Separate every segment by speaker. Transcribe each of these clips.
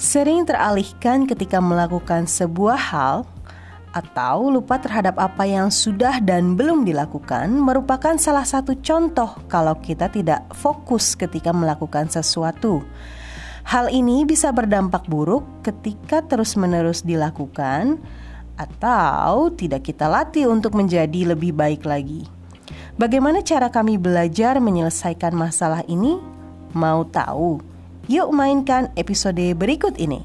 Speaker 1: sering teralihkan ketika melakukan sebuah hal atau lupa terhadap apa yang sudah dan belum dilakukan merupakan salah satu contoh kalau kita tidak fokus ketika melakukan sesuatu. Hal ini bisa berdampak buruk ketika terus-menerus dilakukan atau tidak kita latih untuk menjadi lebih baik lagi. Bagaimana cara kami belajar menyelesaikan masalah ini? Mau tahu? Yuk mainkan episode berikut ini.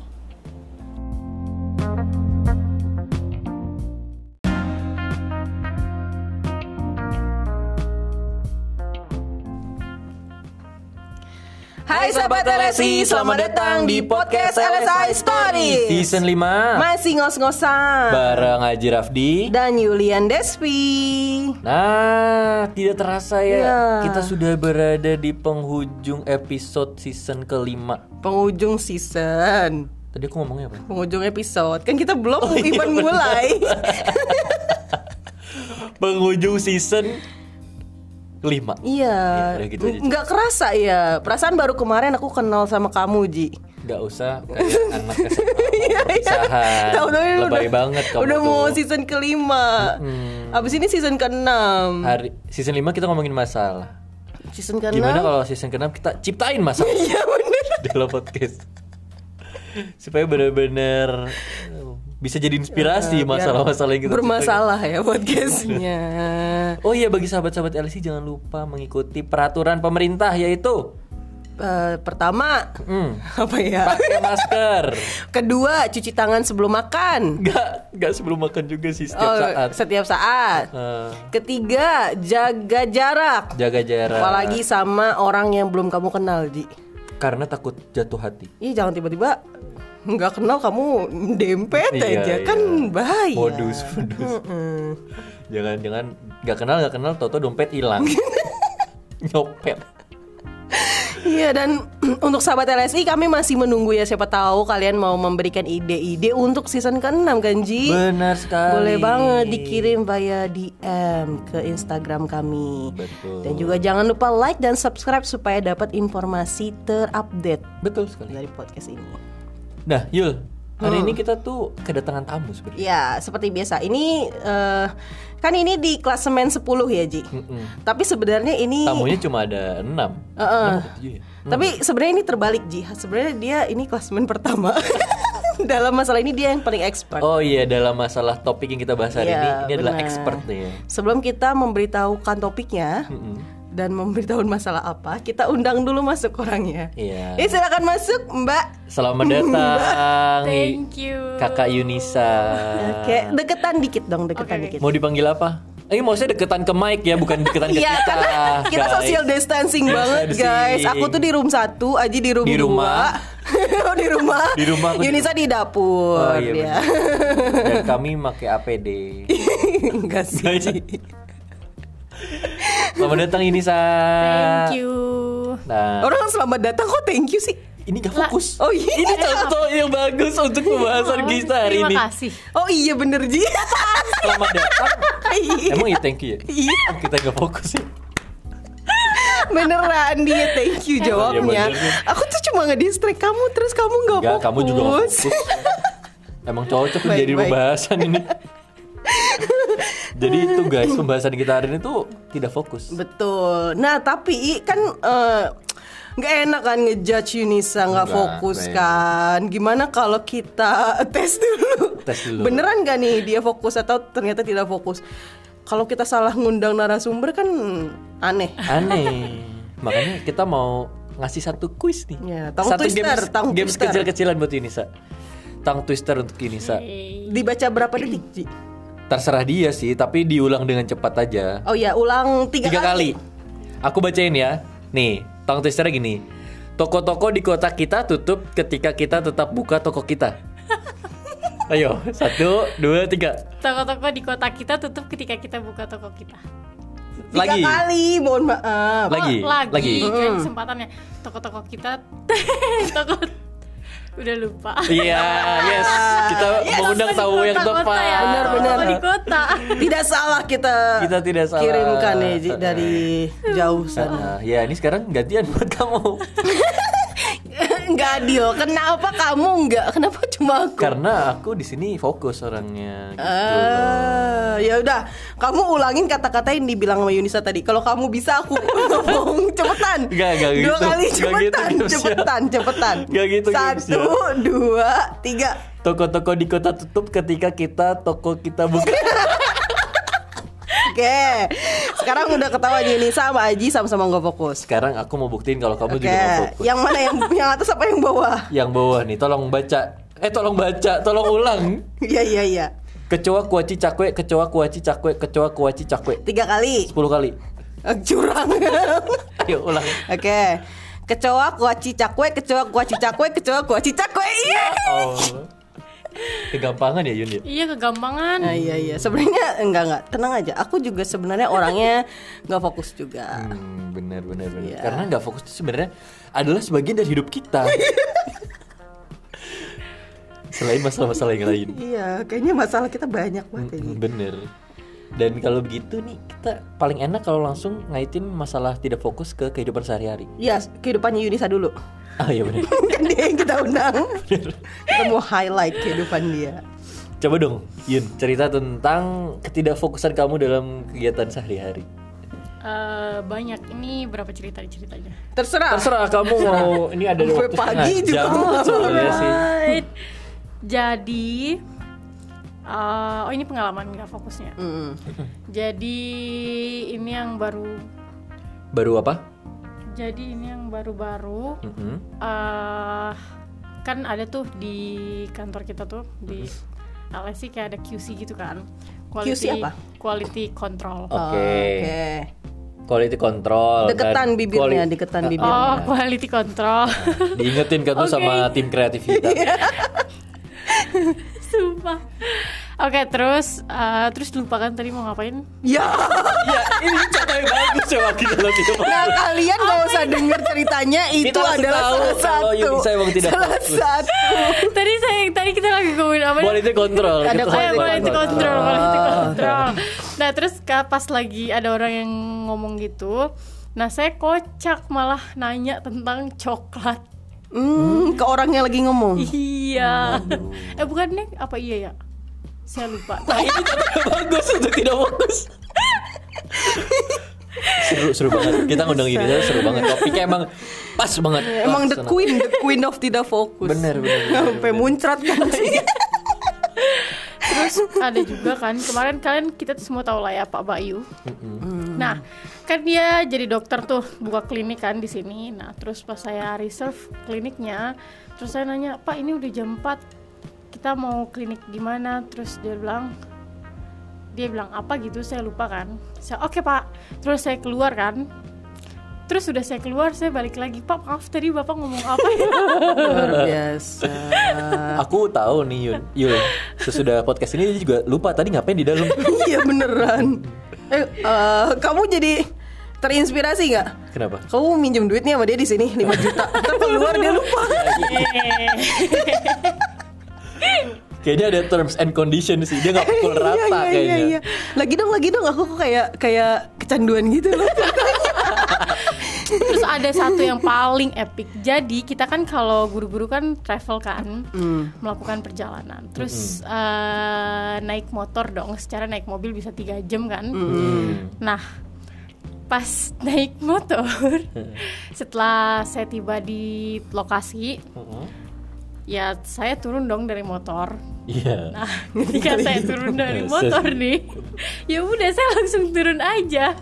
Speaker 2: Hai sahabat LSI, selamat datang di podcast LSI Stories
Speaker 3: Season 5
Speaker 1: Masih ngos-ngosan
Speaker 3: Bareng Haji Rafdi
Speaker 1: dan Yulian Despi.
Speaker 3: Nah, tidak terasa ya
Speaker 2: Iya.
Speaker 1: Ya.
Speaker 3: Kita sudah berada di penghujung episode season kelima
Speaker 2: Penghujung season
Speaker 3: Tadi aku ngomongnya apa?
Speaker 2: Penghujung episode Kan kita belum
Speaker 3: iya,
Speaker 2: even
Speaker 3: bener.
Speaker 2: mulai
Speaker 3: Penghujung season kelima
Speaker 2: Iya
Speaker 3: udah gitu aja, Ci.
Speaker 2: Nggak kerasa ya Perasaan baru kemarin aku kenal sama kamu Ji
Speaker 3: Gak usah kayak anak SMA
Speaker 2: Iya, iya.
Speaker 3: perpisahan.
Speaker 2: Tahu-tahu ini
Speaker 3: Ah, Lebay banget kamu
Speaker 2: Udah
Speaker 3: tuh.
Speaker 2: mau season kelima Abis ini season keenam
Speaker 3: Hari, Season 5 kita ngomongin masalah
Speaker 2: Season keenam
Speaker 3: Gimana kalau season ke-6 kita ciptain masalah
Speaker 2: Iya bener
Speaker 3: dalam podcast supaya benar-benar eh, bisa jadi inspirasi masalah-masalah yang kita
Speaker 2: Iya, Bermasalah ya podcastnya
Speaker 3: ciptakan. Oh iya bagi sahabat-sahabat LC jangan lupa mengikuti peraturan pemerintah yaitu
Speaker 2: Eh, Pertama
Speaker 3: hmm,
Speaker 2: Apa ya
Speaker 3: pakai masker.
Speaker 2: Kedua, cuci tangan sebelum makan.
Speaker 3: Gak gak sebelum makan juga sih setiap
Speaker 2: Oh,
Speaker 3: saat.
Speaker 2: Setiap saat.
Speaker 3: Eh,
Speaker 2: Ketiga, jaga jarak.
Speaker 3: jaga jarak.
Speaker 2: Apalagi sama orang yang belum kamu kenal, Ji.
Speaker 3: karena takut jatuh hati.
Speaker 2: Ih, jangan tiba-tiba nggak kenal kamu dempet
Speaker 3: Iya,
Speaker 2: aja
Speaker 3: iya.
Speaker 2: kan bahaya.
Speaker 3: Modus, modus. Jangan-jangan nggak kenal nggak kenal toto dompet hilang. Nyopet.
Speaker 2: Iya dan untuk sahabat LSI kami masih menunggu ya siapa tahu kalian mau memberikan ide-ide untuk season ke-6 kan Ji.
Speaker 3: Benar sekali.
Speaker 2: Boleh banget dikirim via DM ke Instagram kami.
Speaker 3: Betul.
Speaker 2: Dan juga jangan lupa like dan subscribe supaya dapat informasi terupdate
Speaker 3: Betul sekali.
Speaker 2: dari podcast ini.
Speaker 3: Nah, Yul, hari
Speaker 2: Hmm.
Speaker 3: ini kita tuh kedatangan tamu sebenarnya.
Speaker 2: Ya, seperti biasa. Ini eh, kan ini di klasemen 10 ya, Ji. Tapi sebenarnya ini
Speaker 3: Tamunya cuma ada 6.
Speaker 2: Heeh.
Speaker 3: Iya.
Speaker 2: Tapi sebenarnya ini terbalik, Ji. Sebenarnya dia ini klasemen pertama. Dalam masalah ini dia yang paling expert.
Speaker 3: Oh iya, dalam masalah topik yang kita bahas hari
Speaker 2: Iya,
Speaker 3: ini, ini adalah
Speaker 2: benar.
Speaker 3: expert nih ya.
Speaker 2: Sebelum kita memberitahukan topiknya dan memberitahukan masalah apa, kita undang dulu masuk orangnya.
Speaker 3: Iya.
Speaker 2: Eh, silakan masuk, Mbak.
Speaker 3: Selamat datang.
Speaker 4: Thank you.
Speaker 3: Kakak Yunisa. Iya.
Speaker 2: Oke, deketan dikit dong, deketan
Speaker 4: Oke.
Speaker 2: dikit.
Speaker 3: Mau dipanggil apa? Eh, maksudnya deketan ke mic ya, bukan deketan ke
Speaker 2: Iya,
Speaker 3: kita.
Speaker 2: karena kita
Speaker 3: guys.
Speaker 2: social distancing banget, guys.
Speaker 3: distancing.
Speaker 2: Aku tuh di room satu, Aji di room
Speaker 3: Di rumah.
Speaker 2: dua. Oh, di rumah.
Speaker 3: Di rumah aku di-
Speaker 2: Yunisa di dapur.
Speaker 3: Oh
Speaker 2: ya.
Speaker 3: iya. benar. Dan kami pakai APD.
Speaker 2: Enggak Iya sih.
Speaker 3: Guys. Selamat datang Yunisa.
Speaker 4: Thank you.
Speaker 3: Nah,
Speaker 2: Orang selamat datang kok thank you sih.
Speaker 3: ini gak fokus.
Speaker 2: Oh iya.
Speaker 3: Ini contoh yang bagus untuk pembahasan
Speaker 4: Oh,
Speaker 3: kita hari ini.
Speaker 4: Terima kasih.
Speaker 2: Oh iya bener Ji.
Speaker 3: Selamat datang. Emang ya thank you ya?
Speaker 2: Iya.
Speaker 3: Emang Kita nggak fokus ya.
Speaker 2: Beneran dia thank you jawabnya.
Speaker 3: Iya, bener.
Speaker 2: Aku tuh cuma ngedistract kamu terus kamu nggak
Speaker 3: Enggak,
Speaker 2: fokus.
Speaker 3: kamu juga nggak fokus. Emang cocok nih
Speaker 2: Baik,
Speaker 3: jadi
Speaker 2: baik.
Speaker 3: pembahasan ini. jadi itu guys, pembahasan kita hari ini tuh tidak fokus.
Speaker 2: Betul. Nah tapi kan eh, nggak enak kan ngejudge Yunisa nggak
Speaker 3: Nggak,
Speaker 2: fokus
Speaker 3: baik.
Speaker 2: kan. Gimana kalau kita tes dulu?
Speaker 3: Tes dulu.
Speaker 2: Beneran gak nih dia fokus atau ternyata tidak fokus? Kalau kita salah ngundang narasumber kan aneh.
Speaker 3: Aneh. Makanya kita mau ngasih satu kuis nih.
Speaker 2: Ya, tongue
Speaker 3: satu
Speaker 2: twister,
Speaker 3: games,
Speaker 2: tongue
Speaker 3: games
Speaker 2: twister.
Speaker 3: kecil-kecilan buat Yunisa. Tang twister untuk Yunisa.
Speaker 2: Iya. Dibaca berapa detik? Ji?
Speaker 3: Terserah dia sih, tapi diulang dengan cepat aja.
Speaker 2: Oh ya ulang tiga,
Speaker 3: tiga kali. Aku bacain ya. Nih, tong twisternya gini. Toko-toko di kota kita tutup ketika kita tetap buka toko kita. Ayo, satu, dua, tiga.
Speaker 4: Toko-toko di kota kita tutup ketika kita buka toko kita.
Speaker 2: Tiga
Speaker 3: Lagi,
Speaker 2: kali. Mohon ah, maaf.
Speaker 4: Oh,
Speaker 3: lagi,
Speaker 4: lagi,
Speaker 3: lagi.
Speaker 4: kan kesempatannya. Toko-toko kita toko udah lupa.
Speaker 3: Iya, yes. Kita mengundang
Speaker 4: Toko di
Speaker 3: Iya, tamu yang
Speaker 4: kota-kota
Speaker 3: tepat.
Speaker 4: ya.
Speaker 2: Benar-benar.
Speaker 4: Toko di kota.
Speaker 2: Tidak salah kita
Speaker 3: Kita tidak salah.
Speaker 2: kirimkan ya Ji, dari jauh sana.
Speaker 3: Nah, Sana. Ya, ini sekarang gantian buat kamu.
Speaker 2: nggak adil. Kenapa kamu nggak? Kenapa cuma aku?
Speaker 3: Karena aku di sini fokus orangnya gitu.
Speaker 2: Eh, ya udah, kamu ulangin kata-kata yang dibilang sama Yunisa tadi. Kalau kamu bisa aku ngomong cepetan.
Speaker 3: Nggak, nggak
Speaker 2: Dua
Speaker 3: gitu.
Speaker 2: kali
Speaker 3: Nggak
Speaker 2: cepetan,
Speaker 3: gitu, Gims, ya.
Speaker 2: cepetan, cepetan.
Speaker 3: Nggak gitu, Gims,
Speaker 2: Satu, dua, tiga.
Speaker 3: Toko-toko di kota tutup ketika kita toko kita buka.
Speaker 2: Oke. Sekarang udah ketawa Yunisa sama Aji sama-sama nggak fokus.
Speaker 3: Sekarang aku mau buktiin kalau kamu
Speaker 2: Oke.
Speaker 3: juga mau fokus.
Speaker 2: Yang mana yang yang atas apa yang bawah?
Speaker 3: Yang bawah nih, tolong baca. Eh, tolong baca, tolong ulang.
Speaker 2: Iya, iya, iya.
Speaker 3: Kecoa kuaci cakwe, kecoa kuaci cakwe, kecoa kuaci cakwe.
Speaker 2: Tiga kali.
Speaker 3: 10 kali.
Speaker 2: Eh, Curang.
Speaker 3: Ayo ulang.
Speaker 2: Oke. Kecoa kuaci cakwe, kecoa kuaci cakwe, kecoa kuaci cakwe. Iya.
Speaker 3: Oh. Kegampangan ya Yun ya?
Speaker 4: Iya kegampangan.
Speaker 2: Nah, iya iya. Sebenarnya enggak enggak. Tenang aja. Aku juga sebenarnya orangnya nggak fokus juga.
Speaker 3: Hmm, bener bener bener.
Speaker 2: Iya.
Speaker 3: Karena nggak fokus itu sebenarnya adalah sebagian dari hidup kita. Selain masalah-masalah yang lain.
Speaker 2: Iya, kayaknya masalah kita banyak banget ini.
Speaker 3: Bener. Dan kalau begitu nih kita paling enak kalau langsung ngaitin masalah tidak fokus ke kehidupan sehari-hari.
Speaker 2: Iya, kehidupannya Yunisa dulu.
Speaker 3: Ah iya bener.
Speaker 2: kan dia yang kita undang. kita mau highlight kehidupan dia.
Speaker 3: Coba dong, Yun, cerita tentang ketidakfokusan kamu dalam kegiatan sehari-hari.
Speaker 4: Eh, banyak ini berapa cerita ceritanya?
Speaker 2: Terserah.
Speaker 3: Terserah kamu mau ini ada
Speaker 2: Sampai
Speaker 3: waktu
Speaker 2: pagi
Speaker 3: setengah
Speaker 2: juga
Speaker 3: jam
Speaker 2: mau.
Speaker 3: soalnya Iya sih.
Speaker 4: Alright. Jadi eh, oh ini pengalaman nggak fokusnya.
Speaker 2: Mm.
Speaker 4: Jadi ini yang baru
Speaker 3: Baru apa? Hmm?
Speaker 4: jadi ini yang baru-baru
Speaker 3: Mm-mm.
Speaker 4: eh kan ada tuh di kantor kita tuh di LSI kayak ada QC gitu kan.
Speaker 2: QC apa? Oh,
Speaker 4: Quality control.
Speaker 3: Oke.
Speaker 2: Oke.
Speaker 3: Quality control.
Speaker 2: Deketan
Speaker 3: dan
Speaker 2: bibirnya,
Speaker 3: quali-
Speaker 2: deketan
Speaker 3: Ah,
Speaker 2: bibirnya.
Speaker 4: Oh, quality control.
Speaker 3: Diingetin kan tuh
Speaker 4: Oke.
Speaker 3: sama tim kreatif
Speaker 2: Iya.
Speaker 3: kita.
Speaker 4: Sumpah. Oke, terus eh, terus lupakan tadi mau ngapain?
Speaker 2: Ya,
Speaker 3: Iya, ini cerita yang bagus ya waktu itu
Speaker 2: nah kalian gak usah denger ceritanya itu
Speaker 3: langsung
Speaker 2: adalah
Speaker 3: tahu
Speaker 2: salah
Speaker 3: kalau
Speaker 2: satu.
Speaker 3: Yunisa emang tidak
Speaker 2: salah
Speaker 3: fokus.
Speaker 2: satu.
Speaker 4: tadi saya tadi kita lagi ngomongin apa?
Speaker 3: Quality control.
Speaker 2: Ada
Speaker 3: Kita Ah,
Speaker 4: Oh ya,
Speaker 2: quality
Speaker 4: quality control,
Speaker 2: control.
Speaker 4: quality
Speaker 2: Oh.
Speaker 4: control. Nah, terus ka- pas lagi ada orang yang ngomong gitu, nah saya kocak malah nanya tentang coklat.
Speaker 2: Hmm, ke orangnya lagi ngomong.
Speaker 4: Iya. Eh bukan nih, apa iya ya? Saya lupa.
Speaker 3: Nah, ini cerita bagus untuk tidak fokus. seru seru banget. Kita ngundang ini seru banget. Topiknya emang pas banget.
Speaker 2: Emang the
Speaker 3: Laksana.
Speaker 2: queen, the queen of tidak fokus.
Speaker 3: Bener, bener, bener,
Speaker 2: Sampai
Speaker 3: bener.
Speaker 2: muncrat kan sih.
Speaker 4: Terus ada juga kan kemarin kalian kita tuh semua tahu lah ya Pak Bayu. Nah, kan dia jadi dokter tuh buka klinik kan di sini. Nah, terus pas saya reserve kliniknya, terus saya nanya, "Pak, ini udah jam 4. Kita mau klinik di mana?" Terus dia bilang dia bilang apa gitu, saya lupa kan. Saya, "Oke, Pak." Terus saya keluar kan. Terus udah saya keluar, saya balik lagi, "Pak, maaf tadi Bapak ngomong apa ya?"
Speaker 2: Luar biasa.
Speaker 3: Aku tahu nih Yun. Yun, sesudah podcast ini dia juga lupa tadi ngapain di dalam.
Speaker 2: Iya beneran. Eh, eh, kamu jadi terinspirasi nggak?
Speaker 3: Kenapa?
Speaker 2: Kamu minjem duit nih sama dia di sini 5 juta. Ntar keluar dia lupa.
Speaker 3: Kayaknya ada terms and conditions sih. Dia nggak pukul rata
Speaker 2: Iya, iya,
Speaker 3: kayaknya.
Speaker 2: iya, iya. Lagi dong, lagi dong. Aku kok kayak kayak kecanduan gitu loh.
Speaker 4: Terus ada satu yang paling epic. Jadi kita kan kalau guru-guru kan travel kan, melakukan perjalanan. Terus eh, naik motor dong. Secara naik mobil bisa tiga jam kan.
Speaker 3: Hmm.
Speaker 4: Nah pas naik motor, setelah saya tiba di lokasi,
Speaker 3: Mm-mm.
Speaker 4: ya saya turun dong dari motor.
Speaker 3: Iya.
Speaker 4: Nah ketika saya turun dari motor nih, ya udah saya langsung turun aja.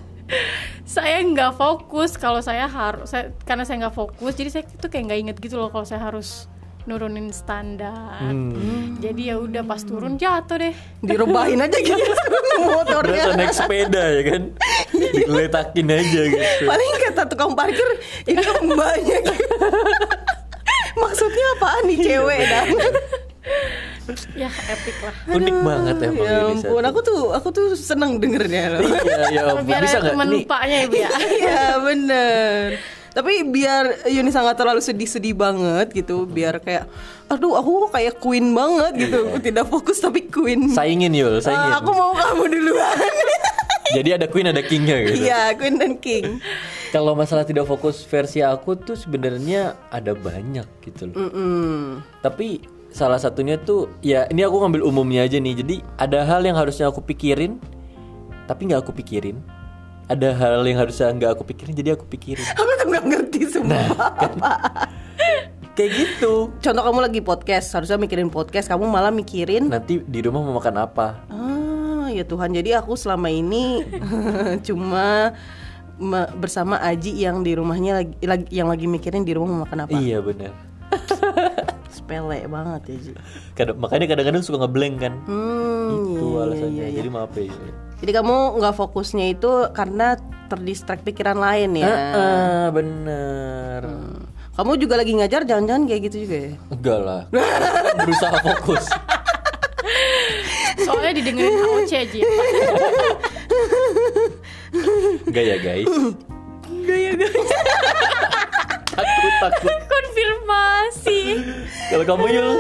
Speaker 4: Saya nggak fokus kalau saya harus, saya, karena saya nggak fokus, jadi saya tuh kayak nggak inget gitu loh kalau saya harus nurunin standar.
Speaker 3: Hmm.
Speaker 4: Jadi ya udah pas turun jatuh deh.
Speaker 2: Direbahin aja gitu
Speaker 3: Iya.
Speaker 2: motornya.
Speaker 3: Berasa naik sepeda ya kan. Diletakin aja gitu.
Speaker 2: Paling kata tukang parkir ini mbaknya gitu. Maksudnya apaan nih cewek dan
Speaker 4: Ya epic lah.
Speaker 3: Unik banget emang
Speaker 2: Ya
Speaker 3: ini
Speaker 2: ampun,
Speaker 3: satu.
Speaker 2: aku tuh aku tuh seneng dengernya loh.
Speaker 3: Iya, ya ampun.
Speaker 4: Biar
Speaker 3: Bisa
Speaker 4: ada
Speaker 3: nggak?
Speaker 4: teman
Speaker 3: Nih,
Speaker 4: lupanya ya bu ya.
Speaker 2: Iya bener Tapi biar Yuni sangat terlalu sedih-sedih banget gitu Biar kayak Aduh aku kok kayak queen Iya. banget gitu Tidak fokus tapi queen
Speaker 3: saingin Yul,
Speaker 2: Eh,
Speaker 3: saingin.
Speaker 2: Aku mau kamu duluan
Speaker 3: Jadi ada queen ada kingnya gitu.
Speaker 2: Iya, Queen dan King.
Speaker 3: Kalau masalah tidak fokus versi aku tuh sebenarnya ada banyak gitu loh.
Speaker 2: Mm-mm.
Speaker 3: Tapi salah satunya tuh ya ini aku ngambil umumnya aja nih. Jadi ada hal yang harusnya aku pikirin tapi nggak aku pikirin. Ada hal yang harusnya nggak aku pikirin jadi aku pikirin.
Speaker 2: Kamu tetap nggak ngerti semua.
Speaker 3: Kayak gitu.
Speaker 2: Contoh kamu lagi podcast, harusnya mikirin podcast, kamu malah mikirin.
Speaker 3: Nanti di rumah mau makan apa?
Speaker 2: Ah, ya Tuhan. Jadi aku selama ini cuma me- bersama Aji yang di rumahnya lagi, lagi- yang lagi mikirin di rumah mau makan apa.
Speaker 3: Iya benar.
Speaker 2: Sepele banget ya, Ji.
Speaker 3: Kadang, makanya kadang-kadang suka ngeblank kan.
Speaker 2: Hmm,
Speaker 3: itu
Speaker 2: iya, iya,
Speaker 3: alasannya.
Speaker 2: iya, iya.
Speaker 3: Jadi maaf ya.
Speaker 2: Jadi kamu nggak fokusnya itu karena terdistract pikiran lain ya.
Speaker 3: Ah, benar.
Speaker 2: Kamu juga lagi ngajar jangan-jangan kayak gitu juga ya?
Speaker 3: Enggak lah. Kan Berusaha fokus.
Speaker 4: Soalnya didengerin HOC aja. ya, Pak.
Speaker 3: Enggak ya guys.
Speaker 4: Enggak ya guys.
Speaker 3: Takut takut.
Speaker 4: Konfirmasi.
Speaker 3: Kalau kamu ya Yul,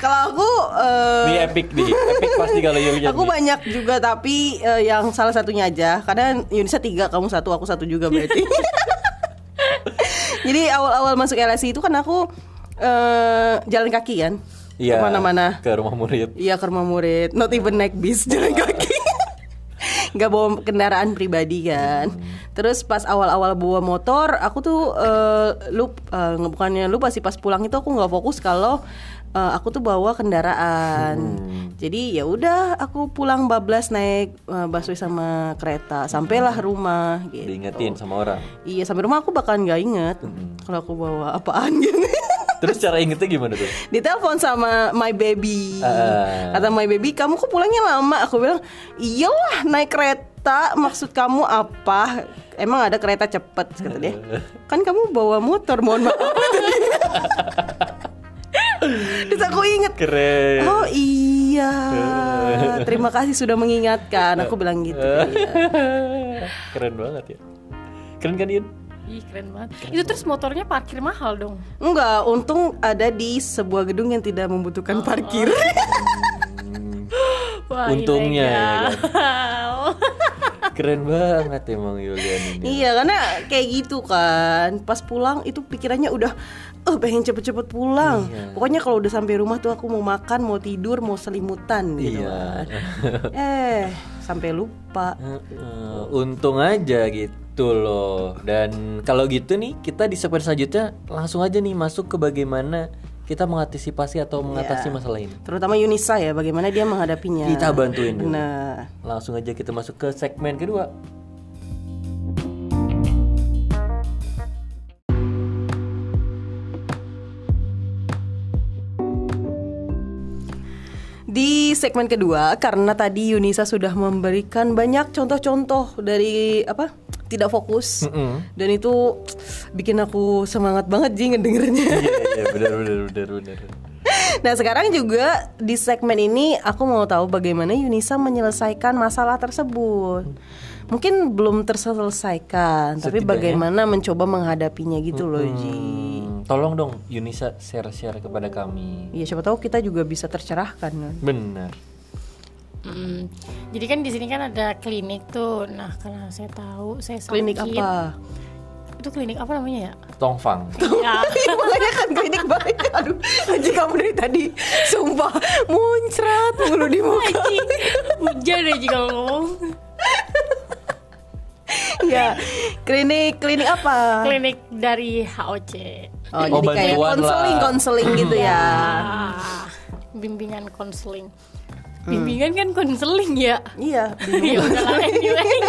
Speaker 2: Kalau aku eh,
Speaker 3: ini epic nih. Epic pasti kalau Yulnya.
Speaker 2: Aku
Speaker 3: nih.
Speaker 2: banyak juga tapi eh, yang salah satunya aja karena Yunisa tiga kamu satu aku satu juga berarti. Jadi awal-awal masuk LSI itu kan aku eh, jalan kaki kan
Speaker 3: Iya.
Speaker 2: kemana-mana.
Speaker 3: Ke rumah murid.
Speaker 2: Iya ke rumah murid, not even naik bis jalan kaki. Gak bawa kendaraan pribadi kan. Terus pas awal-awal bawa motor, aku tuh eh, lup, eh, nggak- bukannya lupa sih pas pulang itu aku nggak fokus kalau eh, aku tuh bawa kendaraan. Jadi ya udah aku pulang bablas naik eh, busway sama kereta, sampailah rumah gitu.
Speaker 3: Diingetin sama orang.
Speaker 2: Iya sampai rumah aku bakalan nggak inget kalau aku bawa apaan gitu.
Speaker 3: Terus cara ingetnya gimana tuh?
Speaker 2: ditelepon sama my baby
Speaker 3: Ah.
Speaker 2: kata my baby kamu kok pulangnya lama aku bilang iyalah naik kereta maksud kamu apa emang ada kereta cepet kata dia kan kamu bawa motor mohon maaf kata dia. terus aku inget
Speaker 3: Keren.
Speaker 2: Oh iya, terima kasih sudah mengingatkan. Aku bilang gitu. Iya.
Speaker 3: Keren banget ya. Keren kan Yul?
Speaker 4: Ih keren banget. Itu terus motornya parkir mahal dong.
Speaker 2: Enggak, untung ada di sebuah gedung yang tidak membutuhkan parkir.
Speaker 4: Wah,
Speaker 3: Untungnya ya, kan?
Speaker 4: ilegal.
Speaker 3: Keren banget emang Yulian ini.
Speaker 2: Iya karena kayak gitu kan Pas pulang itu pikirannya udah Eh pengen cepet-cepet pulang
Speaker 3: Iya.
Speaker 2: Pokoknya kalau udah sampai rumah tuh aku mau makan Mau tidur, mau selimutan gitu
Speaker 3: Iya.
Speaker 2: kan Eh sampai lupa
Speaker 3: Heeh, untung aja gitu loh. Dan kalau gitu nih kita di segmen selanjutnya langsung aja nih masuk ke bagaimana kita mengantisipasi atau
Speaker 2: Iya.
Speaker 3: mengatasi masalah ini.
Speaker 2: Terutama Yunisa ya bagaimana dia menghadapinya
Speaker 3: Kita bantuin dulu.
Speaker 2: Nah
Speaker 3: Langsung aja kita masuk ke segmen kedua.
Speaker 2: Di segmen kedua, karena tadi Yunisa sudah memberikan banyak contoh-contoh dari apa tidak fokus,
Speaker 3: Mm-mm.
Speaker 2: dan itu bikin aku semangat banget sih ngedengernya.
Speaker 3: Iya iya benar benar benar benar.
Speaker 2: Nah sekarang juga di segmen ini aku mau tahu bagaimana Yunisa menyelesaikan masalah tersebut. Mungkin belum terselesaikan, tapi
Speaker 3: Setidaknya.
Speaker 2: bagaimana mencoba menghadapinya gitu loh Ji.
Speaker 3: Hmm, tolong dong Yunisa share-share kepada kami.
Speaker 2: Ya siapa tahu kita juga bisa tercerahkan kan.
Speaker 3: Benar.
Speaker 4: Mm. Jadi kan di sini kan ada klinik tuh. Nah, karena saya tahu saya sakit.
Speaker 2: Klinik apa?
Speaker 4: Itu klinik apa namanya ya?
Speaker 3: Tongfang.
Speaker 4: ya.
Speaker 2: Iya, Makanya kan klinik baik. Aduh, Haji kamu dari tadi sumpah muncrat mulu di muka.
Speaker 4: Anjing. Hujan aja kalau ngomong.
Speaker 2: ya, klinik klinik apa?
Speaker 4: klinik dari HOC
Speaker 2: Oh,
Speaker 3: Oh,
Speaker 2: jadi kayak
Speaker 3: bantuan lah.
Speaker 2: konseling konseling gitu ya.
Speaker 4: ah, bimbingan konseling
Speaker 2: Hmm.
Speaker 4: bimbingan kan konseling ya
Speaker 2: Iya,
Speaker 4: ya udahlah anyway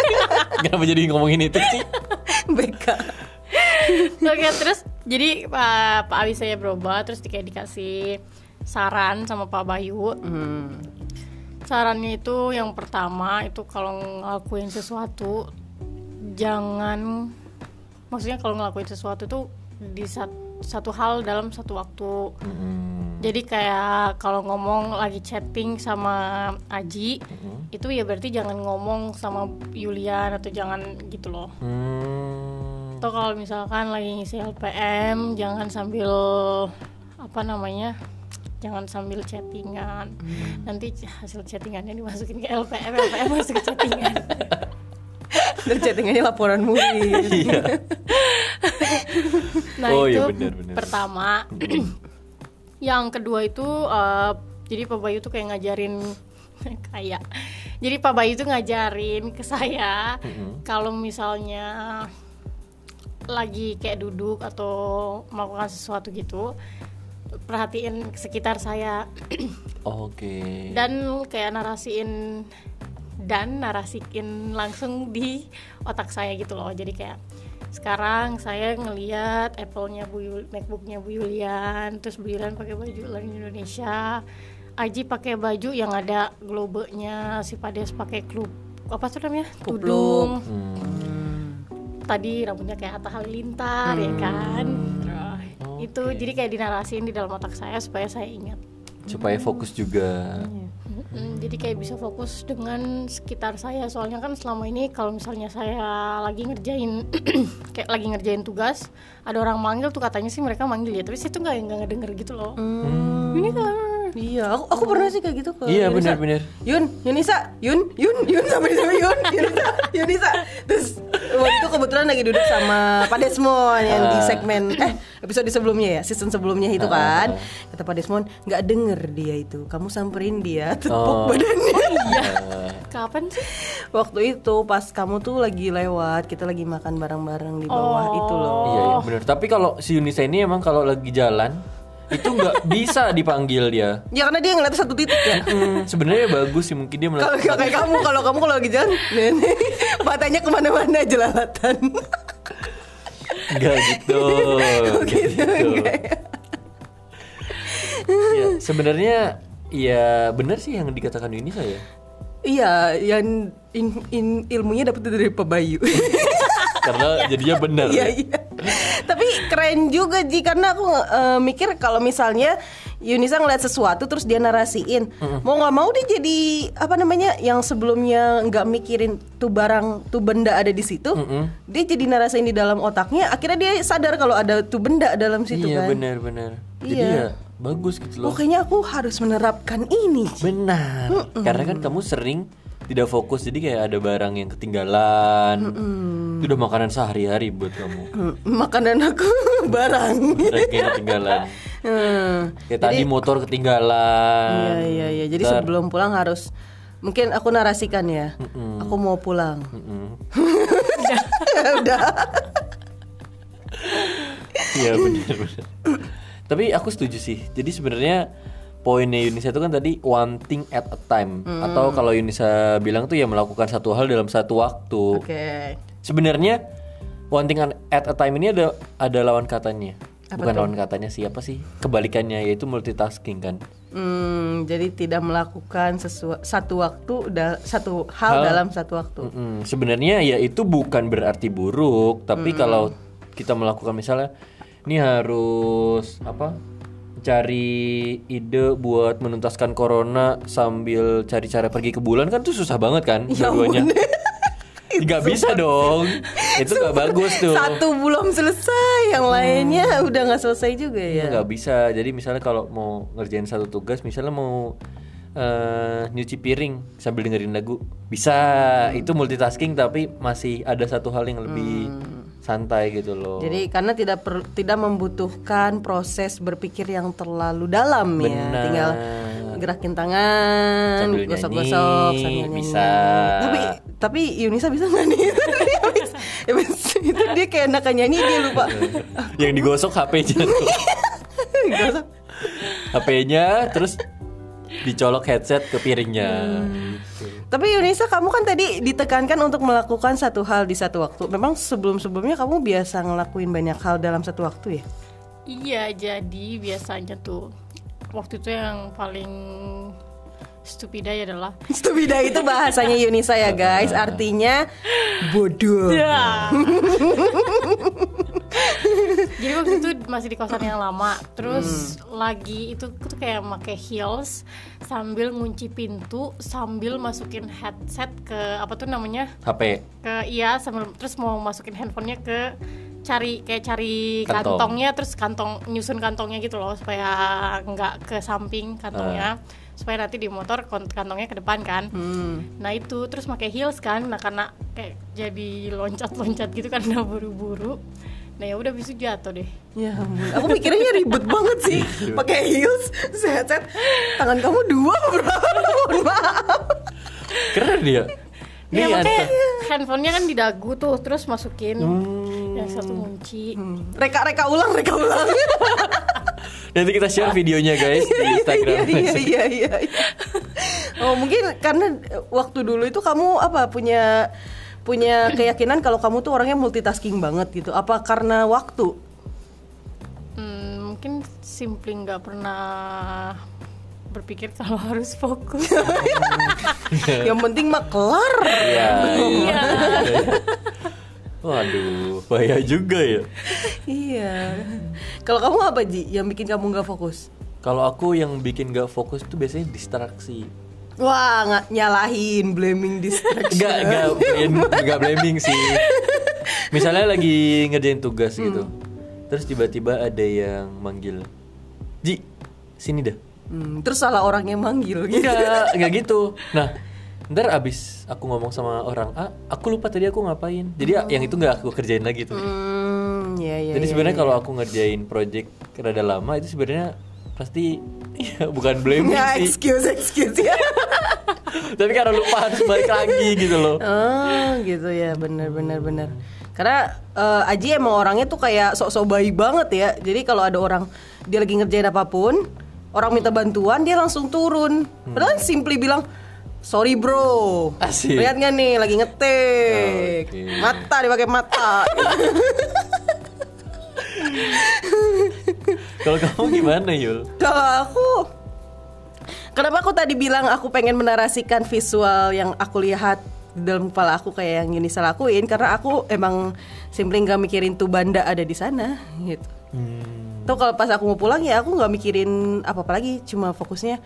Speaker 3: Kenapa jadi ngomongin itu sih?
Speaker 2: BK.
Speaker 4: oke terus jadi ah, Pak Pak Abi saya berobat terus kayak dikasih saran sama Pak Bayu
Speaker 2: Hmm.
Speaker 4: sarannya itu yang pertama itu kalau ngelakuin sesuatu jangan maksudnya kalau ngelakuin sesuatu tuh di sat- satu hal dalam satu waktu
Speaker 3: Mm-mm.
Speaker 4: Jadi kayak kalau ngomong lagi chatting sama Aji, itu ya berarti jangan ngomong sama Yulian atau jangan gitu loh.
Speaker 3: Hmm.
Speaker 4: Atau kalau misalkan lagi ngisi LPM, jangan sambil apa namanya? Jangan sambil chattingan. Nanti hasil chattingannya dimasukin ke LPM, LPM masuk ke chattingan.
Speaker 2: Terjadinya ya, laporan mungkin.
Speaker 3: Iya.
Speaker 4: Nah
Speaker 3: Oh,
Speaker 4: itu
Speaker 3: iya, benar, benar.
Speaker 4: pertama. yang kedua itu eh, jadi Pak Bayu tuh kayak ngajarin kayak. Jadi Pak Bayu tuh ngajarin ke saya kalau misalnya lagi kayak duduk atau melakukan sesuatu gitu perhatiin sekitar saya
Speaker 3: Oke.
Speaker 4: dan kayak narasiin dan narasikin langsung di otak saya gitu loh jadi kayak sekarang saya ngeliat Apple-nya Bu Yul- MacBook-nya Bu Yulian terus Bu Yulian pakai baju learn Indonesia Aji pakai baju yang ada globenya si Pades pakai klub apa tuh namanya
Speaker 2: Kupluk.
Speaker 4: tudung
Speaker 3: Hmm.
Speaker 4: tadi rambutnya kayak Atta Halilintar ya kan Terus, itu
Speaker 3: Oke.
Speaker 4: jadi kayak dinarasiin di dalam otak saya supaya saya ingat
Speaker 3: Supaya fokus juga.
Speaker 4: Mm, jadi kayak bisa fokus dengan sekitar saya soalnya kan selama ini kalau misalnya saya lagi ngerjain kayak lagi ngerjain tugas ada orang manggil tuh katanya sih mereka manggil ya tapi saya tuh nggak nggak ngedenger gitu loh ini kan
Speaker 2: Iya, aku, aku pernah sih kayak gitu ke
Speaker 3: Iya,
Speaker 2: Yunisa.
Speaker 3: benar-benar.
Speaker 2: Yun, Yunisa, Yun, Yun, Yun sampai sampai Yun, Yunisa, Yunisa. Terus waktu itu kebetulan lagi duduk sama Pak Desmond yang di
Speaker 3: Ah.
Speaker 2: segmen eh episode sebelumnya ya, season sebelumnya itu kan. Kata Pak Desmond, nggak denger dia itu. Kamu samperin dia, tepuk
Speaker 3: Oh.
Speaker 2: badannya.
Speaker 3: Iya.
Speaker 4: kapan sih
Speaker 2: Waktu itu pas kamu tuh lagi lewat, kita lagi makan bareng-bareng di bawah
Speaker 4: Oh.
Speaker 2: itu loh.
Speaker 3: Iya, iya benar. Tapi kalau si Yunisa ini emang kalau lagi jalan itu nggak bisa dipanggil dia.
Speaker 2: Ya karena dia ngeliat satu titik ya.
Speaker 3: Hmm, Sebenarnya bagus sih mungkin dia
Speaker 2: Kalau
Speaker 3: melakukan.
Speaker 2: kalau kayak kamu, kalau kamu kalau lagi jalan, nenek, matanya kemana-mana jelalatan.
Speaker 3: Enggak gitu. Nggak gitu. Iya, sebenarnya ya benar sih yang dikatakan Yunisa ya.
Speaker 2: iya, yang in- in- ilmunya dapat dari Pak Bayu.
Speaker 3: Karena jadinya benar. ya.
Speaker 2: Iya, iya. Tapi keren juga Ji karena aku eh, mikir kalau misalnya Yunisa ngeliat sesuatu terus dia narasiin, mau nggak mau dia jadi apa namanya yang sebelumnya nggak mikirin tuh barang tuh benda ada di situ, dia jadi narasiin di dalam otaknya. Akhirnya dia sadar kalau ada tuh benda dalam situ
Speaker 3: Iya,
Speaker 2: kan.
Speaker 3: benar-benar. Jadi
Speaker 2: Iya.
Speaker 3: ya bagus gitu loh.
Speaker 2: Oh kayaknya aku harus menerapkan ini. Ji.
Speaker 3: Benar. Karena kan kamu sering tidak fokus jadi kayak ada barang yang ketinggalan. Itu udah makanan sehari-hari buat kamu.
Speaker 2: Hmm, Makanan aku barang.
Speaker 3: Barang yang ketinggalan.
Speaker 2: Hmm.
Speaker 3: Kayak tadi motor
Speaker 2: Iya
Speaker 3: ketinggalan.
Speaker 2: iya iya. Jadi
Speaker 3: Ntar-
Speaker 2: sebelum pulang harus mungkin aku narasikan ya. Aku mau pulang.
Speaker 3: Mm-mm.
Speaker 2: Udah.
Speaker 3: Iya benar benar. Tapi aku setuju sih. Jadi sebenarnya poinnya Yunisa itu kan tadi one thing at a time atau kalau Yunisa bilang tuh ya melakukan satu hal dalam satu waktu.
Speaker 2: Oke.
Speaker 3: Sebenarnya one thing at a time ini ada ada lawan katanya. Bukan lawan katanya sih apa sih? Kebalikannya yaitu multitasking kan.
Speaker 2: Hmm, jadi tidak melakukan sesua- satu waktu da- satu hal,
Speaker 3: Hal.
Speaker 2: dalam satu waktu.
Speaker 3: Mm-mm. Sebenarnya ya itu bukan berarti buruk, tapi kalau kita melakukan misalnya ini harus apa? cari ide buat menuntaskan corona sambil cari cara pergi ke bulan kan tuh susah banget kan dua-duanya. Nggak bisa dong. Itu nggak bagus tuh. Mm.
Speaker 2: Satu belum selesai, yang lainnya udah nggak selesai juga ya.
Speaker 3: Iya, nggak bisa jadi misalnya kalau mau ngerjain satu tugas misalnya mau eh, nyuci piring sambil dengerin lagu bisa
Speaker 2: Hmm.
Speaker 3: itu multitasking tapi masih ada satu hal yang lebih santai gitu loh
Speaker 2: Hmm. Jadi karena tidak per- tidak membutuhkan proses berpikir yang terlalu dalam ya.
Speaker 3: Benar.
Speaker 2: Tinggal gerakin tangan,
Speaker 3: Sambil
Speaker 2: gosok-gosok
Speaker 3: nyanyi,
Speaker 2: sambil nyanyi.
Speaker 3: bisa.
Speaker 2: Tapi tapi Yunisa bisa nggak nih? Habis- habis itu dia kayak enak nyanyi dia lupa.
Speaker 3: yang digosok HP-nya tuh.
Speaker 2: Gosok.
Speaker 3: HP-nya terus dicolok headset ke piringnya
Speaker 2: Hmm.
Speaker 3: Gitu.
Speaker 2: Tapi Yunisa kamu kan tadi ditekankan untuk melakukan satu hal di satu waktu. Memang sebelum-sebelumnya kamu biasa ngelakuin banyak hal dalam satu waktu ya?
Speaker 4: iya jadi biasanya tuh waktu itu yang paling stupida ya adalah
Speaker 2: Stupida itu bahasanya Yunisa ya guys, artinya bodoh.
Speaker 4: Jadi waktu itu masih di kosan yang lama, terus lagi itu tuh kayak pakai heels sambil ngunci pintu sambil masukin headset ke apa tuh namanya
Speaker 3: HP
Speaker 4: ke iya sambil terus mau masukin handphonenya ke cari kayak cari
Speaker 3: Kantong. Ah.
Speaker 4: kantongnya terus kantong nyusun kantongnya gitu loh supaya nggak ke samping kantongnya supaya nanti di motor kont- kantongnya ke depan kan
Speaker 3: Hmm.
Speaker 4: nah itu terus pakai heels kan nah karena kayak jadi loncat-loncat gitu karena buru-buru nah ya udah bisu jatuh deh
Speaker 2: Ya ampun. Aku mikirnya ribet banget sih
Speaker 3: Iya.
Speaker 2: pakai heels, headset. Tangan kamu dua apa berapa? Mohon maaf.
Speaker 3: Keren dia. Nih,
Speaker 4: ya
Speaker 3: Anta.
Speaker 4: makanya
Speaker 3: Hmm.
Speaker 4: handphonenya kan di dagu tuh terus masukin yang satu kunci
Speaker 2: Reka-reka ulang, reka ulang.
Speaker 3: Nanti kita share videonya guys di Instagram.
Speaker 2: Iya, iya, iya, iya, iya. Oh, mungkin karena waktu dulu itu kamu apa punya punya keyakinan kalau kamu tuh orangnya multitasking banget gitu. Apa karena waktu?
Speaker 4: Hmm, mungkin simply nggak pernah berpikir kalau harus fokus
Speaker 2: Yang penting mah kelar.
Speaker 3: Iya,
Speaker 4: Iya.
Speaker 3: iya. Waduh, bahaya juga ya.
Speaker 2: Iya. Kalau kamu apa Ji yang bikin kamu nggak fokus?
Speaker 3: Kalau aku yang bikin gak fokus tuh biasanya distraksi.
Speaker 2: Wah, nggak nyalahin, blaming distraction.
Speaker 3: Gak, gak, gak blaming sih. Misalnya lagi ngerjain tugas gitu. Terus tiba-tiba ada yang manggil. Ji, sini dah.
Speaker 2: Hmm, terus salah orang yang manggil gitu.
Speaker 3: Enggak, enggak gitu. Nah, ntar abis aku ngomong sama orang A, aku lupa tadi aku ngapain. Jadi yang itu nggak aku kerjain lagi tuh.
Speaker 2: Hmm, ya, ya,
Speaker 3: Jadi
Speaker 2: ya,
Speaker 3: sebenarnya
Speaker 2: ya.
Speaker 3: kalau aku ngerjain project rada lama itu sebenarnya pasti ya, bukan blaming
Speaker 2: ya
Speaker 3: sih.
Speaker 2: excuse excuse ya.
Speaker 3: Tapi karena lupa harus balik lagi gitu loh.
Speaker 2: oh, gitu ya, benar benar benar. Karena eh, Aji emang orangnya tuh kayak sok-sok baik banget ya. Jadi kalau ada orang dia lagi ngerjain apapun, orang minta bantuan dia langsung turun.
Speaker 3: Hmm.
Speaker 2: Padahal simply bilang Sorry bro,
Speaker 3: Asik. Oh,
Speaker 2: lihat nggak nih lagi ngetik,
Speaker 3: Oke.
Speaker 2: mata dipakai mata.
Speaker 3: Kalau kamu gimana Yul?
Speaker 2: Kalau aku Kenapa aku tadi bilang aku pengen menarasikan visual yang aku lihat di dalam kepala aku kayak yang Yunisa lakuin karena aku emang simply nggak mikirin tuh banda ada di sana gitu.
Speaker 3: Hmm.
Speaker 2: Tuh kalau pas aku mau pulang ya aku nggak mikirin apa-apa lagi, cuma fokusnya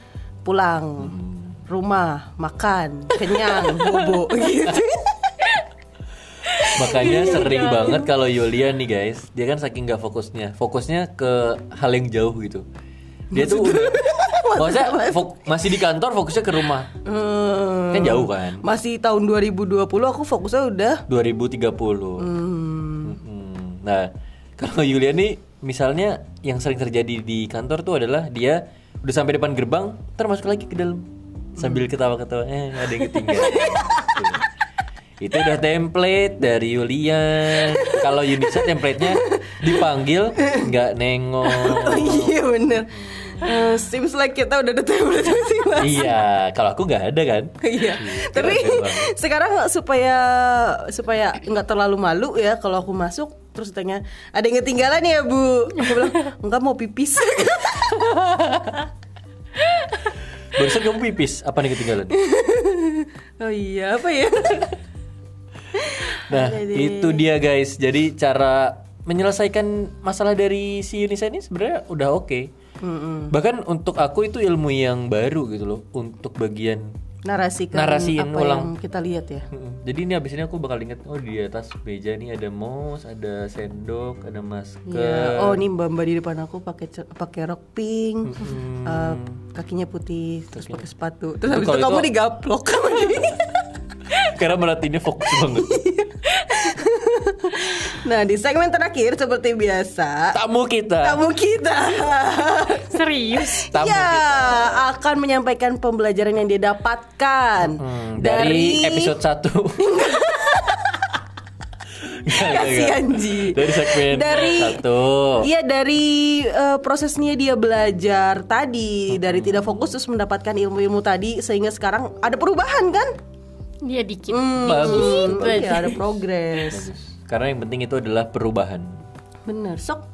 Speaker 2: pulang,
Speaker 3: Hmm.
Speaker 2: rumah, makan, kenyang, bobo gitu. Iya,
Speaker 3: Makanya sering banget kalau Yulia nih guys, dia kan saking nggak fokusnya, fokusnya ke hal yang jauh gitu. Dia tuh udah, maksudnya fok- masih di kantor fokusnya ke rumah,
Speaker 2: Hmm.
Speaker 3: kan jauh kan.
Speaker 2: Masih tahun 2020 aku fokusnya udah
Speaker 3: 2030. Mm-mm. Nah, kalau Yulia nih misalnya yang sering terjadi di kantor tuh adalah dia udah sampai depan gerbang, ntar masuk lagi ke dalam sambil ketawa-ketawa, eh ada yang ketinggalan. Tuh. Itu udah template dari Yulia. Kalau Yunisa template-nya dipanggil nggak
Speaker 2: Oh,
Speaker 3: nengok.
Speaker 2: iya bener
Speaker 3: Hmm.
Speaker 2: Eh, Seems like kita udah ada template masing-masing
Speaker 3: Iya, kalau aku nggak ada kan.
Speaker 2: Iya, tapi
Speaker 3: keren banget.
Speaker 2: sekarang supaya supaya nggak terlalu malu ya kalau aku masuk terus tanya ada yang ketinggalan ya bu? Aku bilang enggak mau pipis.
Speaker 3: Barusan kamu pipis, apa nih ketinggalan?
Speaker 2: oh iya apa ya?
Speaker 3: Nah,
Speaker 2: Ada deh.
Speaker 3: itu dia guys. Jadi cara menyelesaikan masalah dari si Yunisa ini sebenarnya udah oke. Bahkan untuk aku itu ilmu yang baru gitu loh untuk bagian.
Speaker 2: Narasikan
Speaker 3: Narasiin
Speaker 2: kan apa
Speaker 3: ulang.
Speaker 2: yang kita lihat ya.
Speaker 3: Mm-mm. Jadi ini abis ini aku bakal inget oh di atas meja nih ada mouse, ada sendok, ada
Speaker 2: Iya.
Speaker 3: masker.
Speaker 2: Oh nih mbak mbak di depan aku pakai ce- pakai rok pink, eh, kakinya putih, terus pakai sepatu. Terus habis itu
Speaker 3: kalau itu-
Speaker 2: kamu digaplok sama dia.
Speaker 3: Karena merhatiinnya fokus banget.
Speaker 2: Nah di segmen terakhir seperti biasa
Speaker 3: Tamu kita.
Speaker 2: tamu kita
Speaker 4: serius
Speaker 3: Tamu
Speaker 2: ya
Speaker 3: kita.
Speaker 2: akan menyampaikan pembelajaran yang dia dapatkan
Speaker 3: Hmm, dari, episode 1
Speaker 2: Kasihan, Ji.
Speaker 3: Dari segmen
Speaker 2: Dari-
Speaker 3: satu.
Speaker 2: Iya dari eh, prosesnya dia belajar tadi dari tidak fokus terus mendapatkan ilmu-ilmu tadi sehingga sekarang ada perubahan kan?
Speaker 4: dia Iya, dikit
Speaker 2: Hmm,
Speaker 3: Bagus.
Speaker 2: gitu aja, ada progres.
Speaker 3: Bagus. Karena yang penting itu adalah perubahan.
Speaker 2: Bener sok.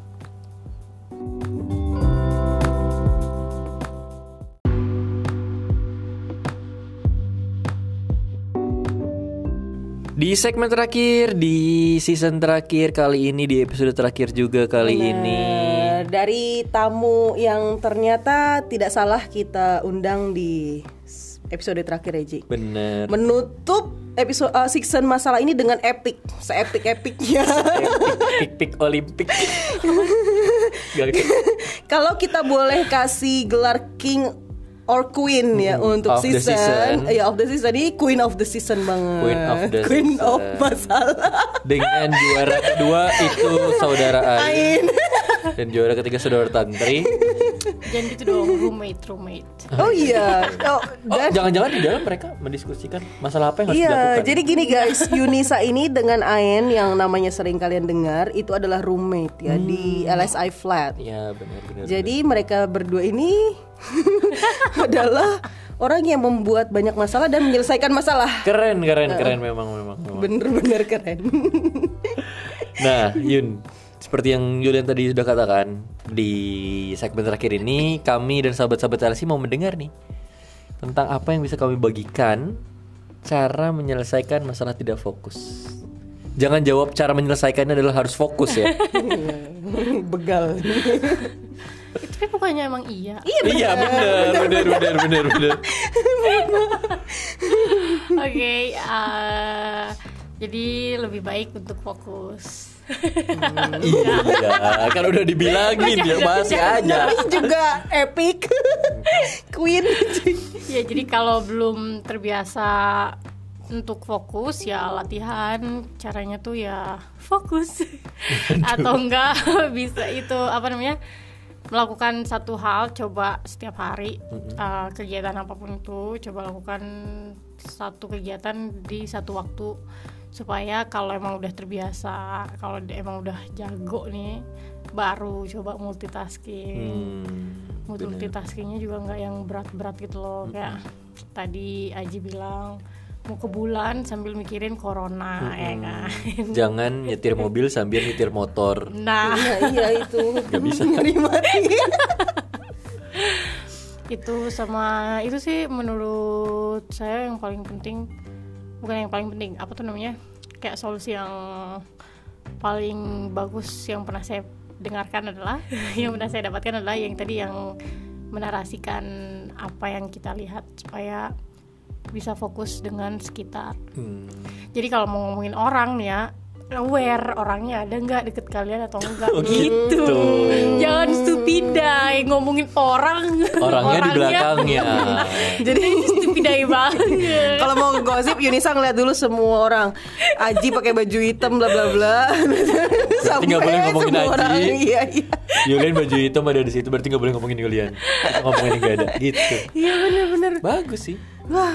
Speaker 3: Di segmen terakhir, di season terakhir kali ini, di episode terakhir juga kali ini.
Speaker 2: Bener. Eh, Dari tamu yang ternyata tidak salah kita undang di s- episode terakhir Eji.
Speaker 3: Bener.
Speaker 2: Menutup episode eh, season masalah ini dengan epic, seepik epiknya.
Speaker 3: Pik-pik olimpik. Gak gitu.
Speaker 2: Kalau kita boleh kasih gelar King or queen ya untuk
Speaker 3: Of the
Speaker 2: season.
Speaker 3: season.
Speaker 2: Ya of the season ini queen of the season banget.
Speaker 3: Queen of the
Speaker 2: Queen
Speaker 3: season.
Speaker 2: of masalah.
Speaker 3: Dengan juara kedua itu saudara Ain dan juara ketiga saudara Tantri.
Speaker 4: Jangan gitu dong, roommate, roommate.
Speaker 2: Oh iya. Oh,
Speaker 3: Oh,
Speaker 2: dan-
Speaker 3: jangan-jangan di dalam mereka mendiskusikan masalah apa yang harus
Speaker 2: Iya,
Speaker 3: dilakukan.
Speaker 2: jadi gini guys, Yunisa ini dengan Aen yang namanya sering kalian dengar itu adalah roommate ya di LSI Flat.
Speaker 3: Hmm. Iya, benar-benar.
Speaker 2: Jadi mereka berdua ini adalah orang yang membuat banyak masalah dan menyelesaikan masalah.
Speaker 3: keren, keren, keren memang memang. memang.
Speaker 2: Bener-bener keren.
Speaker 3: Nah, Yun, seperti yang Julian tadi sudah katakan di segmen terakhir ini, kami dan sahabat-sahabat LC mau mendengar nih tentang apa yang bisa kami bagikan cara menyelesaikan masalah tidak fokus. Jangan jawab cara menyelesaikannya adalah harus fokus ya.
Speaker 2: Begal.
Speaker 4: Itu kan bukannya emang iya.
Speaker 3: iya benar, benar, benar, benar, benar.
Speaker 4: Oke, eh, jadi lebih baik untuk fokus.
Speaker 3: Iya, kan udah dibilangin dia masih aja.
Speaker 2: Namanya juga epic. Queen.
Speaker 4: ya jadi kalau belum terbiasa untuk fokus ya latihan caranya tuh ya fokus atau enggak bisa itu apa namanya melakukan satu hal coba setiap hari eh, kegiatan apapun itu coba lakukan satu kegiatan di satu waktu supaya kalau emang udah terbiasa kalau emang udah jago nih baru coba multitasking
Speaker 3: Hmm,
Speaker 4: mood multitaskingnya juga nggak yang berat-berat gitu loh kayak tadi Aji bilang mau ke bulan sambil mikirin corona ya kan
Speaker 3: Jangan nyetir mobil sambil nyetir motor.
Speaker 4: nah
Speaker 2: Nah, iya itu.
Speaker 3: Gak bisa.
Speaker 2: Ngeri mati.
Speaker 4: itu sama itu sih menurut saya yang paling penting bukan yang paling penting apa tuh namanya kayak solusi yang paling bagus yang pernah saya dengarkan adalah yang pernah saya dapatkan adalah yang tadi yang menarasikan apa yang kita lihat supaya bisa fokus dengan sekitar
Speaker 3: Hmm.
Speaker 4: Jadi kalau mau ngomongin orang nih ya aware orangnya ada nggak deket kalian atau enggak
Speaker 3: Oh,
Speaker 4: gitu.
Speaker 3: gitu.
Speaker 4: Jangan stupidai ngomongin orang.
Speaker 3: Orangnya di belakangnya.
Speaker 4: Jadi stupidai banget.
Speaker 2: Kalau mau gosip Yunisa ngeliat dulu semua orang. Aji pakai baju hitam bla bla bla. Sampai
Speaker 3: nggak boleh ngomongin
Speaker 2: semua
Speaker 3: Aji.
Speaker 2: orang, Iya iya.
Speaker 3: Yulian baju hitam ada di situ berarti nggak boleh ngomongin Yulian. Ngomongin yang nggak ada gitu.
Speaker 2: Iya bener-bener
Speaker 3: Bagus sih.
Speaker 2: Wah,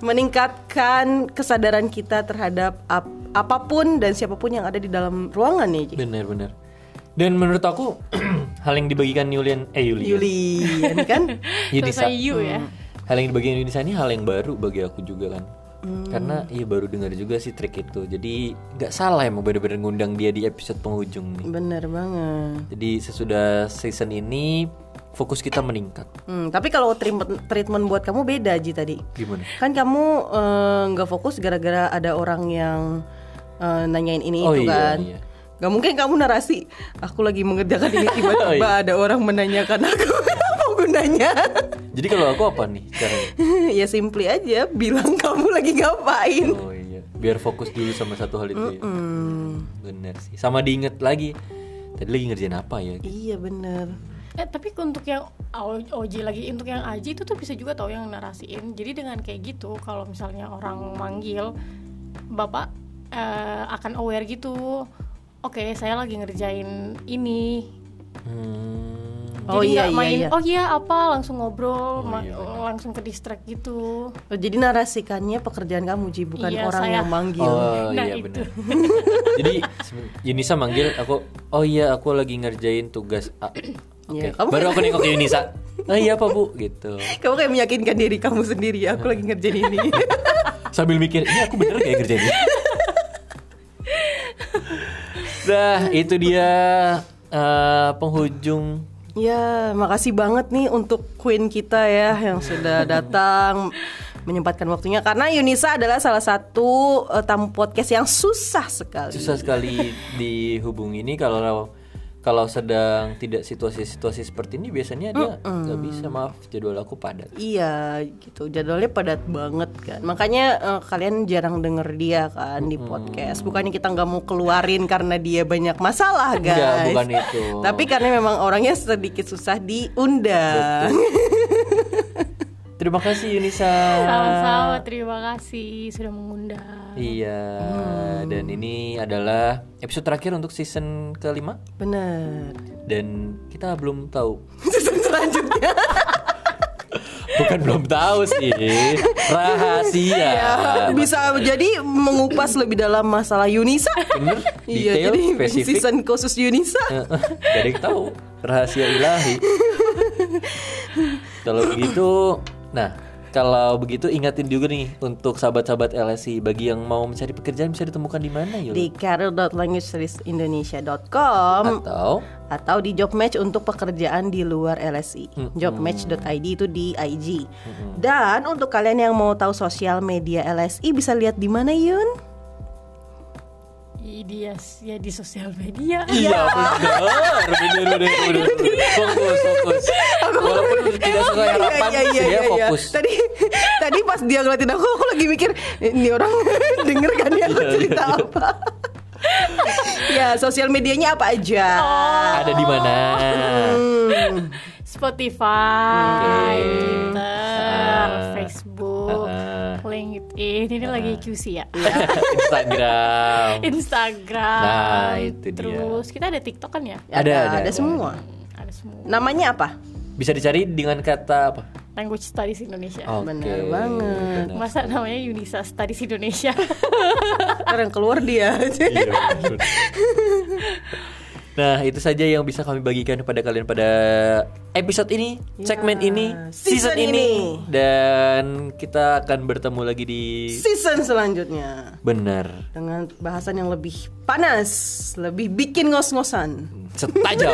Speaker 2: meningkatkan kesadaran kita terhadap ap- apapun dan siapapun yang ada di dalam ruangan nih.
Speaker 3: Iya.
Speaker 2: Ji.
Speaker 3: Bener-bener. Dan menurut aku hal yang dibagikan Yulian eh Yulian.
Speaker 2: Yulian kan?
Speaker 3: Yunisa.
Speaker 4: Selesai you ya.
Speaker 3: Hal yang dibagikan Yunisa ini hal yang baru bagi aku juga kan. Karena iya baru dengar juga sih trik itu. Jadi nggak salah emang bener-bener ngundang dia di episode penghujung nih.
Speaker 2: Bener banget.
Speaker 3: Jadi sesudah season ini fokus kita meningkat.
Speaker 2: Hmm, tapi kalau treatment, treatment buat kamu beda Ji tadi.
Speaker 3: Gimana?
Speaker 2: Kan kamu eh, nggak fokus gara-gara ada orang yang eh, nanyain ini
Speaker 3: Oh,
Speaker 2: itu
Speaker 3: iya,
Speaker 2: kan.
Speaker 3: iya.
Speaker 2: Gak mungkin kamu narasi. Aku lagi mengerjakan ini tiba-tiba
Speaker 3: Oh, iya.
Speaker 2: ada orang menanyakan aku apa gunanya.
Speaker 3: Jadi kalau aku apa nih caranya?
Speaker 2: ya simply aja bilang kamu lagi ngapain.
Speaker 3: Oh iya, biar fokus dulu sama satu hal itu ya. Bener sih. Sama diinget lagi. Tadi lagi ngerjain apa ya?
Speaker 2: Iya bener.
Speaker 4: Eh, tapi untuk yang O- OJ lagi untuk yang Aji itu tuh bisa juga tahu yang narasiin. Jadi dengan kayak gitu kalau misalnya orang manggil Bapak eh, akan aware gitu. Oke, saya lagi ngerjain ini.
Speaker 3: Hmm.
Speaker 2: Oh,
Speaker 4: Jadi
Speaker 2: iya,
Speaker 4: nggak
Speaker 2: iya,
Speaker 4: main
Speaker 2: iya.
Speaker 4: oh iya apa langsung ngobrol, ma- langsung ke distract gitu.
Speaker 2: Oh, jadi narasikannya pekerjaan kamu Ji bukan
Speaker 4: Iya,
Speaker 2: orang
Speaker 4: saya-
Speaker 2: yang manggil.
Speaker 3: Oh
Speaker 4: Nah,
Speaker 3: iya
Speaker 4: itu.
Speaker 3: benar. Jadi seben- Yunisa manggil aku, "Oh iya, aku lagi ngerjain tugas A." Oke.
Speaker 2: Iya, kamu-
Speaker 3: Baru aku nengok ke Yunisa. "Oh iya, apa Bu?" gitu.
Speaker 2: Kamu kayak meyakinkan diri kamu sendiri ya, aku
Speaker 3: Oh.
Speaker 2: lagi ngerjain ini.
Speaker 3: Sambil mikir, "Ini aku bener kayak ngerjain ini?" Nah, itu dia eh, penghujung
Speaker 2: ya, makasih banget nih untuk Queen kita ya yang sudah datang menyempatkan waktunya karena Yunisa adalah salah satu eh, tamu podcast yang susah sekali.
Speaker 3: susah sekali dihubungi ini kalau kalau sedang tidak situasi-situasi seperti ini biasanya dia nggak bisa maaf jadwal aku padat
Speaker 2: Iya gitu jadwalnya padat banget kan makanya eh, kalian jarang denger dia kan di podcast bukannya kita nggak mau keluarin karena dia banyak masalah guys
Speaker 3: Enggak, bukan itu.
Speaker 2: tapi karena memang orangnya sedikit susah diundang
Speaker 3: Terima kasih Yunisa.
Speaker 4: Sama-sama, terima kasih sudah mengundang.
Speaker 3: Iya,
Speaker 2: Hmm.
Speaker 3: dan ini adalah episode terakhir untuk season kelima
Speaker 2: Bener.
Speaker 3: dan kita belum tahu.
Speaker 2: Season selanjutnya.
Speaker 3: Bukan belum tahu sih, rahasia.
Speaker 2: Iya.
Speaker 3: Nah,
Speaker 2: Bisa jadi mengupas lebih dalam masalah Yunisa.
Speaker 3: Bener,
Speaker 2: Iya,
Speaker 3: detail,
Speaker 2: jadi
Speaker 3: spesifik.
Speaker 2: season khusus Yunisa.
Speaker 3: Jadi tahu rahasia ilahi. kalau begitu, nah kalau begitu ingatin juga nih untuk sahabat-sahabat LSI bagi yang mau mencari pekerjaan bisa ditemukan di mana Yul?
Speaker 2: Di career.languageseriesIndonesia.com
Speaker 3: Atau
Speaker 2: atau di job match untuk pekerjaan di luar LSI. Jobmatch.id itu di IG. Dan untuk kalian yang mau tahu sosial media LSI bisa lihat di mana Yun?
Speaker 4: Iya, dia ya di sosial media.
Speaker 3: Iya benar, benar, benar, benar. Fokus, fokus. Walaupun tidak sesuai harapan,
Speaker 2: Iya. Iya, iya, iya,
Speaker 3: saya
Speaker 2: iya.
Speaker 3: ya, fokus.
Speaker 2: Tadi tadi pas dia ngeliatin aku aku lagi mikir ini orang denger kan
Speaker 3: Iya,
Speaker 2: ya aku cerita apa. ya, sosial medianya apa aja?
Speaker 3: Ada di mana?
Speaker 4: Spotify,
Speaker 3: Oke.
Speaker 4: Twitter,
Speaker 3: Ah.
Speaker 4: Facebook,
Speaker 3: Ah.
Speaker 4: LinkedIn. Ini lagi QC ya.
Speaker 3: Instagram.
Speaker 4: Instagram.
Speaker 3: Nah, itu dia.
Speaker 4: Terus kita ada TikTok kan ya?
Speaker 3: Ada, ada,
Speaker 2: ada
Speaker 3: ada.
Speaker 2: semua.
Speaker 4: Ada semua.
Speaker 2: Namanya apa?
Speaker 3: Bisa dicari dengan kata apa?
Speaker 4: Language Studies Indonesia.
Speaker 2: Iya,
Speaker 3: Oke.
Speaker 2: Benar banget.
Speaker 3: Oh, benar.
Speaker 4: Masa namanya Unisa Studies Indonesia.
Speaker 2: Orang keluar dia.
Speaker 3: Iya, benar. Nah itu saja yang bisa kami bagikan kepada kalian pada episode ini, segmen ini, season,
Speaker 2: Season
Speaker 3: ini.
Speaker 2: ini.
Speaker 3: dan kita akan bertemu lagi di
Speaker 2: Season selanjutnya
Speaker 3: benar
Speaker 2: dengan bahasan yang lebih panas, lebih bikin ngos-ngosan.
Speaker 3: setajam,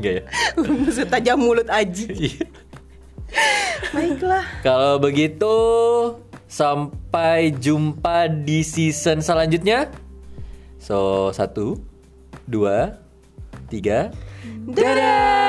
Speaker 3: enggak ya?
Speaker 2: Setajam mulut Aji.
Speaker 3: Iya.
Speaker 2: Baiklah.
Speaker 3: Kalau begitu sampai jumpa di season selanjutnya. So satu, dua, tiga.
Speaker 2: Dadah.